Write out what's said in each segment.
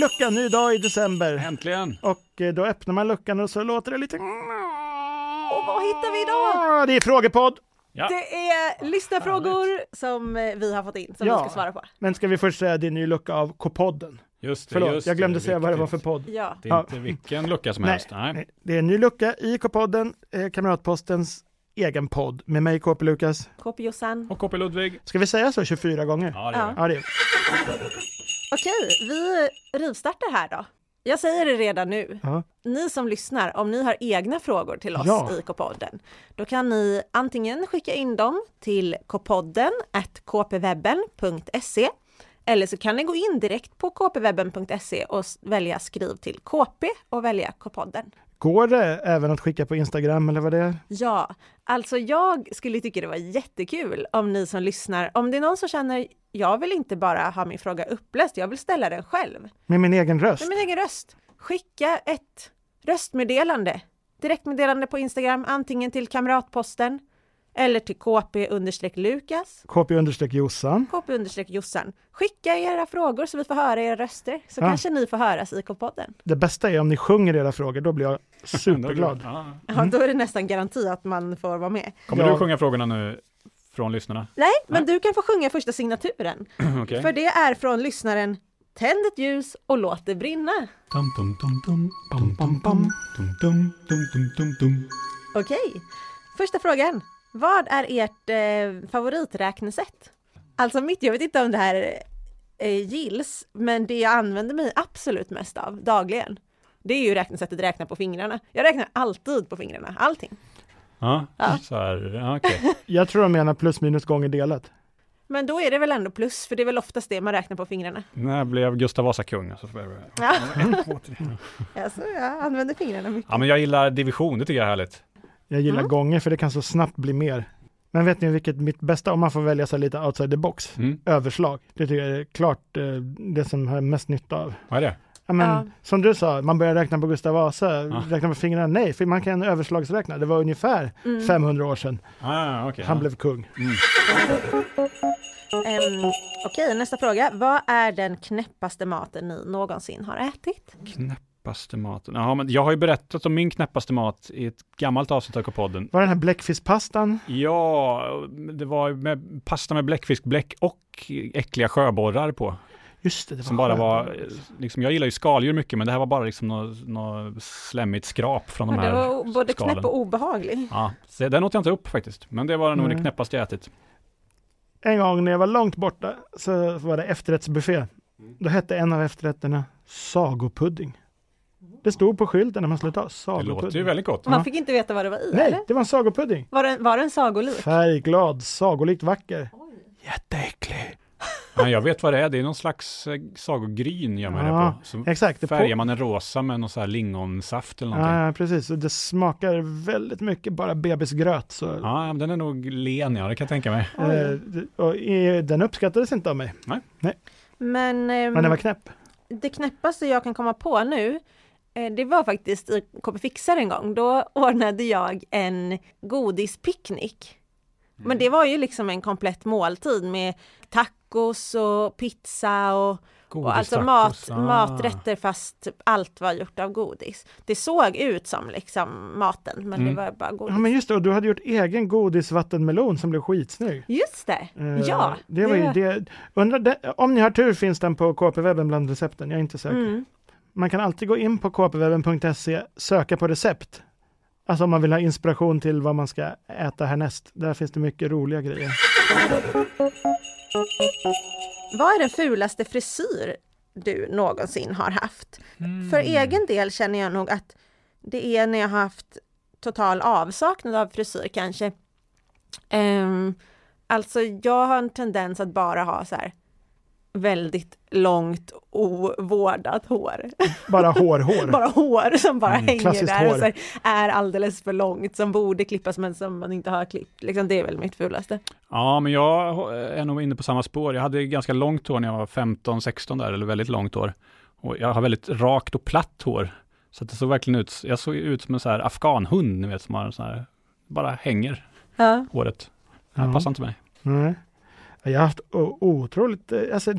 lucka, ny dag i december. Äntligen! Och eh, då öppnar man luckan och så låter det lite... Och vad hittar vi idag? Ah, Det är frågepodd. Det är lyssnarfrågor som eh, vi har fått in som Ja. vi ska svara på. Men ska vi först säga att det är en ny lucka av K-podden. Just det, Förlåt, just jag glömde det, säga vad det var för viktigt. podd. Ja. Det Ja. är inte vilken lucka som helst. Nej. Nej, det är en ny lucka i K-podden, eh, Kamratpostens egen podd med mig KP Lukas. Kopiosan. Och KP Ludvig. Ska vi säga så 24 gånger? Ja, det gör Ja. vi. Ja, det är. Okej, vi rivstartar här då. Jag säger det redan nu. Ja. Ni som lyssnar, om ni har egna frågor till oss Ja. i K-podden, då kan ni antingen skicka in dem till kpodden at kpwebben.se eller så kan ni gå in direkt på kpwebben.se och s- välja skriv till KP och välja K-podden. Går det även att skicka på Instagram eller vad det är? Ja, alltså jag skulle tycka det var jättekul om ni som lyssnar, om det är någon som känner jag vill inte bara ha min fråga uppläst, jag vill ställa den själv Med min egen röst? med min egen röst. Skicka ett röstmeddelande, direktmeddelande på Instagram, antingen till kamratposten eller till KP Lukas, KP understreck Jossan. KP Jossan. Skicka era frågor så vi får höra era röster, så Ja. kanske ni får höras i K-podden. Det bästa är om ni sjunger era frågor, då blir jag superglad. Ja. Ja, då är det nästan garanti att man får vara med. Kommer Ja. du sjunga frågorna nu från lyssnarna? Nej, men du kan få sjunga första signaturen, Okej. för det är från lyssnaren Tänd ett ljus och låt det brinna. Okej, första frågan. Vad är ert eh, favoriträknesätt? Alltså mitt, jag vet inte om det här eh, gills, men det jag använder mig absolut mest av dagligen, det är ju räknesättet räkna på fingrarna. Jag räknar alltid på fingrarna, allting. Ja, Ja. så här. Ja, okej. Jag tror de menar plus minus gånger delat. Men då är det väl ändå plus, för det är väl oftast det man räknar på fingrarna. När blev Gustav Vasa kung? Alltså, Ja. alltså, jag använder fingrarna mycket. ja, men jag gillar division, det tycker jag är härligt. Jag gillar Mm. gånger för det kan så snabbt bli mer. Men vet ni vilket mitt bästa, om man får välja så här lite outside the box, Mm. överslag. Det tycker jag är klart eh, det som jag har mest nytta av. Vad är det? Ja, men, Ja. Som du sa, man börjar räkna på Gustav Vasa, Ja. räkna på fingrarna. Nej, för man kan överslagsräkna. Det var ungefär 500 år sedan Ah, okej. han ja. blev kung. Ehm, Okej, nästa fråga. Vad är den knäppaste maten ni någonsin har ätit? Knäppaste maten. Ja, men jag har ju berättat om min knäppaste mat i ett gammalt avsnitt av K-podden. Var den här bläckfiskpastan? Ja, det var med pasta med bläckfisk, bläck och äckliga sjöborrar på. Just det, det var Som bara skönt. var, eh, liksom, jag gillar ju skaldjur mycket, men det här var bara liksom något nå slemmigt skrap från de Ja, här det var både skalen. knäpp och obehaglig. Ja, så den åt jag inte upp faktiskt. Men det var nog Nej. det knäppaste jag ätit. En gång när jag var långt borta så var det efterrättsbuffé. Då hette en av efterrätterna sagopudding. Det stod på skylten när man skulle ta Det låter ju sagopudding. väldigt gott. Man fick inte veta vad det var i Nej, eller? det var en sagopudding. Var den, var den sagolik? Färgglad, sagolikt vacker. Mm. Jätteäcklig. Ja, jag vet vad det är, det är någon slags eh, sagogryn gör man Ja, det på. Så Exakt. det på- färgar man en rosa med någon så här lingonsaft eller någonting. Ja, ja, precis. Och det smakar väldigt mycket bara bebisgröt. Så, Ja, men den är nog len, ja, det kan jag tänka mig. eh, d- och, eh, den uppskattades inte av mig, Men, ehm, Mm. men den var knäpp. det knäppaste jag kan komma på nu, eh, det var faktiskt i KB Fixar en gång. Då ordnade jag en godispicknick. Mm. Men det var ju liksom en komplett måltid med tacos och pizza och, och alltså mat, Godistacos, ah. maträtter fast allt var gjort av godis. Det såg ut som liksom maten, men Mm. det var bara godis. Ja, men just det. Och du hade gjort egen godisvattenmelon som blev skitsnygg. Just det! Eh, ja! Det var ju det. Undrar, det, om ni har tur finns den på KP-webben bland recepten, jag är inte säker. Mm. Man kan alltid gå in på kpwebben.se, söka på recept. Alltså om man vill ha inspiration till vad man ska äta härnäst. Där finns det mycket roliga grejer. Vad är den fulaste frisyr du någonsin har haft? För Hmm. egen del känner jag nog att det är när jag har haft total avsaknad av frisyr kanske. Ehm, alltså jag har en tendens att bara ha så här väldigt långt ovårdat hår. Bara hår-hår. bara hår som bara Mm, hänger klassiskt där och hår. så här, är alldeles för långt som borde klippas men som man inte har klippt. Liksom, det är väl mitt fulaste. Ja, men jag är nog inne på samma spår. Jag hade ganska långt hår när jag var 15-16 där, eller väldigt långt hår. Och jag har väldigt rakt och platt hår. Så att det såg verkligen ut, jag såg ut som en så här afghanhund, ni vet, som har en sån här, bara hänger Ja. håret. Det här Ja. passar inte mig. Nej. Jag har haft o- otroligt, eh, alltså,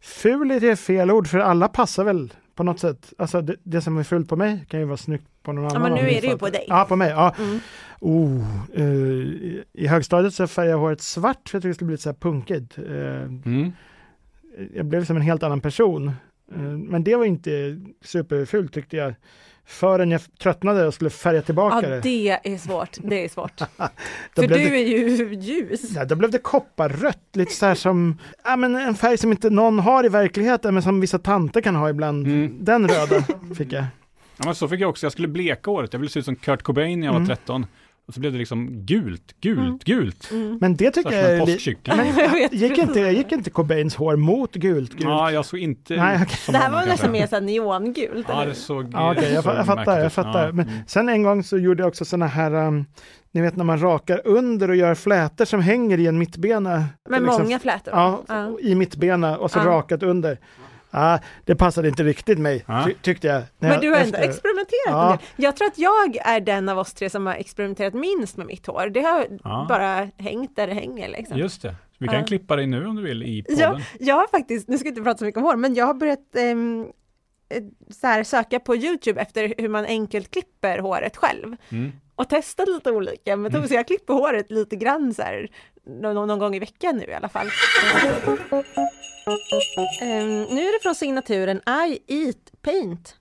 Ful är det fel ord för alla passar väl på något sätt. Alltså det, det som är fult på mig kan ju vara snyggt på någon annan. men om nu vi är det ju fattar. på dig. Ja, på mig. Ja. Mm. Oh, eh, i- I högstadiet så färgade jag håret svart för jag tyckte det skulle bli lite så här punkigt. Eh, Mm. jag blev som en helt annan person. Eh, Men det var inte superfult tyckte jag. Förrän jag tröttnade och skulle färga Ja, tillbaka det. det är svårt. Det är svårt. Då För blev du det, är ju ljus. ja, då blev det kopparrött, lite så här som ja, men en färg som inte någon har i verkligheten men som vissa tanter kan ha ibland. Mm. Den röda fick jag. Ja, men så fick jag också, jag skulle bleka håret, jag ville se ut som Kurt Cobain när jag var Mm. 13. Och så blev det liksom gult, gult, Mm. gult. Mm. Men det Så tycker här som jag en är li- påskkyckling. Jag vet Gick precis. inte, gick inte Cobains hår mot gult? gult? Ja, jag såg inte Nej, ut okej. som Det här honom var kanske. nästan mer såhär neongult. Ja, eller? det såg... Ja, okej, jag, såg fa- jag fattar, märkligt jag ut. fattar. Ja, Men mm. sen en gång så gjorde jag också sådana här, um, ni vet när man rakar under och gör flätor som hänger i en mittbena. Men Liksom- många flätor. Ja, Ja. i mittbena och så Ja. rakat under. Ah, det passade inte riktigt mig, Ja. ty- tyckte jag. när Men jag du har ändå efter- experimenterat Ja. med det. Jag tror att jag är den av oss tre som har experimenterat minst med mitt hår. Det har Ja. bara hängt där det hänger liksom. Just det. Vi kan Ja. klippa dig nu om du vill i podden. Jag, jag har faktiskt, nu ska jag inte prata så mycket om hår, men jag har börjat ehm, eh, så här, söka på YouTube efter hur man enkelt klipper håret själv Mm. och testat lite olika metoder. Så jag klipper håret lite grann så här, någon, någon gång i veckan nu i alla fall. Ehm, nu är det från signaturen I eat paint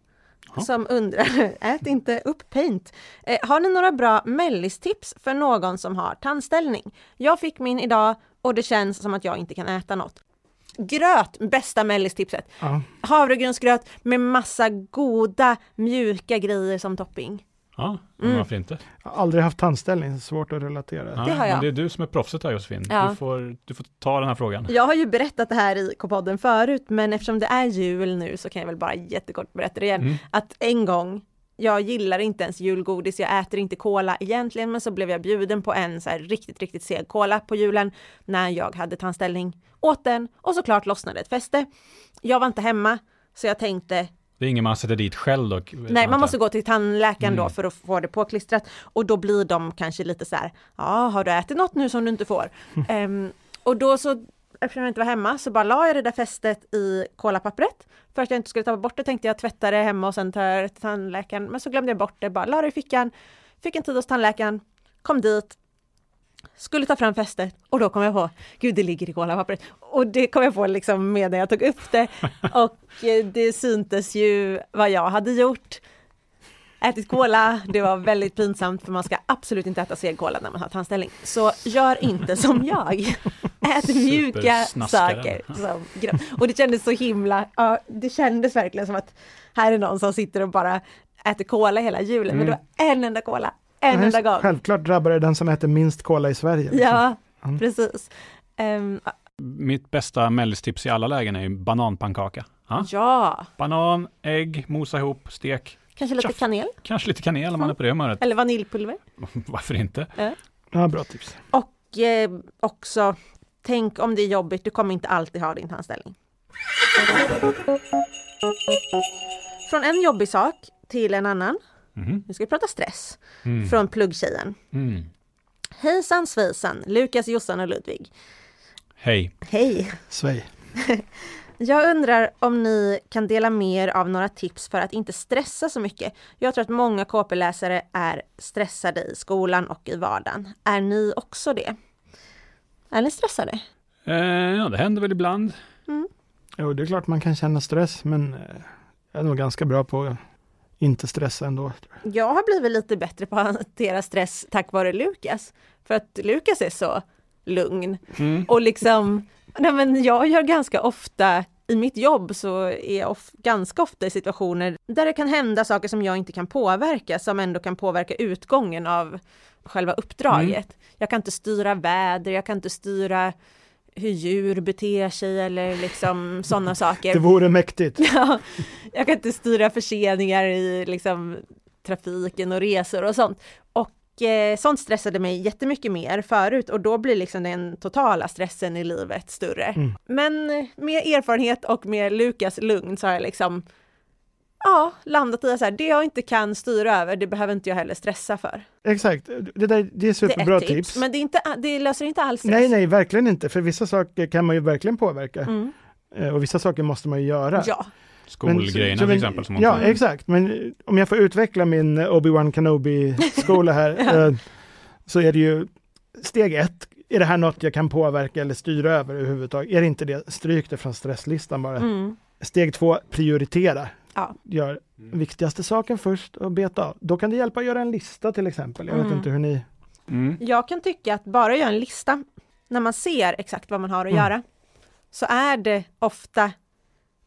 Ja. som undrar, ät inte upp paint. Eh, har ni några bra mellistips för någon som har tandställning? Jag fick min idag och det känns som att jag inte kan äta något. Gröt, bästa mellistipset. Ja. Havregrynsgröt med massa goda mjuka grejer som topping. Ja, men varför inte? Jag har aldrig haft tandställning, så svårt att relatera. Ja, Mm. Det har jag. Men det är du som är proffset här Josefin. Ja. Du, får, du får ta den här frågan. Jag har ju berättat det här i K-podden förut, men eftersom det är jul nu så kan jag väl bara jättekort berätta det igen. Mm. Att en gång, jag gillar inte ens julgodis, jag äter inte cola egentligen, men så blev jag bjuden på en så här riktigt, riktigt seg cola på julen när jag hade tandställning. Åt den och såklart lossnade ett fäste. Jag var inte hemma, så jag tänkte Det är ingen man sätter dit själv dock. Nej, man måste gå till tandläkaren då för att få det påklistrat och då blir de kanske lite så här, ja, har du ätit något nu som du inte får? Ehm, och då så, eftersom jag inte var hemma, så bara la jag det där fästet i kolapappret för att jag inte skulle tappa bort det tänkte jag tvätta det hemma och sen tar jag det till tandläkaren, men så glömde jag bort det, bara la det i fickan, fick en tid hos tandläkaren, kom dit, skulle ta fram fästet och då kom jag på, gud det ligger i kolapappret. Och det kom jag på liksom med när jag tog upp det och eh, det syntes ju vad jag hade gjort. Ätit cola, det var väldigt pinsamt för man ska absolut inte äta seg cola när man har tandställning. Så gör inte som jag. Ät mjuka Supersnaskaren. saker. Som gröt. och det kändes så himla, ja det kändes verkligen som att här är någon som sitter och bara äter cola hela julen. Men det var en enda cola, en Nej, enda gång. Självklart drabbar det den som äter minst cola i Sverige. liksom. Ja, Mm. precis. Ehm, Mitt bästa mellistips i alla lägen är ju bananpannkaka. Ja. ja, Banan, ägg, mosa ihop, stek. kanske lite Tjoff. kanel Kanske lite kanel om man är på det humöret. eller vaniljpulver. Varför inte? Ja, bra tips. Och eh, också, tänk om det är jobbigt, du kommer inte alltid ha din tandställning. Från en jobbig sak till en annan. Mhm. Nu ska vi prata stress. Mm. Från pluggtjejen. Mm. Hejsan svejsan, Lukas, Jossan och Ludvig. Hej. Hej! Svej. Jag undrar om ni kan dela med er av några tips för att inte stressa så mycket. Jag tror att många KP-läsare är stressade i skolan och i vardagen. Är ni också det? Är ni stressade? Eh, ja, det händer väl ibland. Jo, det är klart man kan känna stress, men eh, jag är nog ganska bra på att inte stressa ändå. Jag har blivit lite bättre på att hantera stress tack vare Lukas. För att Lukas är så lugn. Mm. Och liksom, nej men jag gör ganska ofta, i mitt jobb så är jag of, ganska ofta i situationer där det kan hända saker som jag inte kan påverka, som ändå kan påverka utgången av själva uppdraget. Jag kan inte styra väder, jag kan inte styra hur djur beter sig eller liksom sådana saker. Det vore mäktigt. Ja, jag kan inte styra förseningar i liksom, trafiken och resor och sånt. Och eh, sånt stressade mig jättemycket mer förut och då blir liksom den totala stressen i livet större. Mm. Men eh, med erfarenhet och med Lukas lugn så har jag liksom ja, landat i att så här, det jag inte kan styra över, det behöver inte jag heller stressa för. Exakt, det, där, det är Det är superbra ett tips, tips. men det, är inte, det löser inte alls stress. Nej, nej, verkligen inte. För vissa saker kan man ju verkligen påverka. Mm. Eh, Och vissa saker måste man ju göra. Ja. Men- Skolgrejerna så- så- till exempel. Som man ja, tar- exakt. Men eh, om jag får utveckla min eh, Obi-Wan Kenobi-skola här, eh, så är det ju steg ett. Är det här något jag kan påverka eller styra över överhuvudtaget? Är det inte det, stryk det från stresslistan bara. Mm. Steg två, prioritera. Ja. Gör Mm. viktigaste saken först och beta av. Då kan det hjälpa att göra en lista till exempel. Jag vet Mm. inte hur ni... Mm. Jag kan tycka att bara göra en lista, när man ser exakt vad man har att Mm. göra, så är det ofta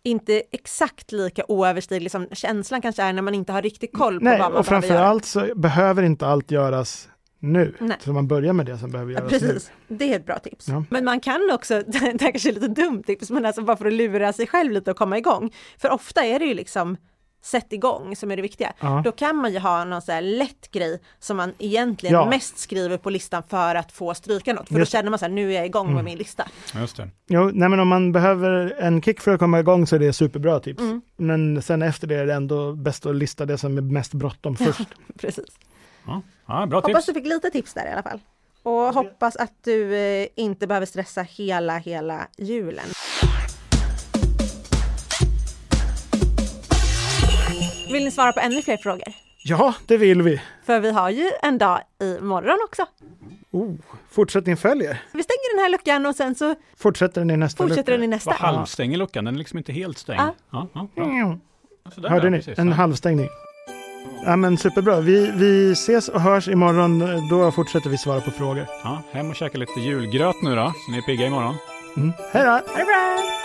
inte exakt lika oöverstigligt som känslan kanske är när man inte har riktigt koll på Nej, vad man och behöver göra. framförallt så behöver inte allt göras nu. Nej. Så man börjar med det som behöver Ja, göras nu. precis, det är ett bra tips. Ja. Men man kan också, det här kanske är lite dumt tips, men alltså bara för att lura sig själv lite och komma igång. För ofta är det ju liksom sätt igång som är det viktiga. Ja. Då kan man ju ha någon så här lätt grej som man egentligen Ja. mest skriver på listan för att få stryka något. För Just- då känner man så här, nu är jag igång Mm. med min lista. Just det. Jo, nej men om man behöver en kick för att komma igång så är det superbra tips. Mm. Men sen efter det är det ändå bäst att lista det som är mest bråttom först. Precis. Ja, ja bra Hoppas tips. du fick lite tips där i alla fall. Och hoppas att du eh, inte behöver stressa hela, hela julen. Vill ni svara på ännu fler frågor? Ja, det vill vi. För vi har ju en dag i morgon också. Oh, fortsättning följer. Vi stänger den här luckan och sen så Fortsätter den i nästa fortsätter den i Vad nästa. halvstänger luckan, den är liksom inte helt stängd. Ja. Ja, ja, bra. lucka. Sådär, Mm. Hörde ja, ni? precis. En Ja. halvstängning. Ja men superbra. Vi, vi ses och hörs imorgon. Då fortsätter vi svara på frågor. Ja, hem och käka lite julgröt nu då, så ni är pigga imorgon. Mm. Hej då! Ha det bra!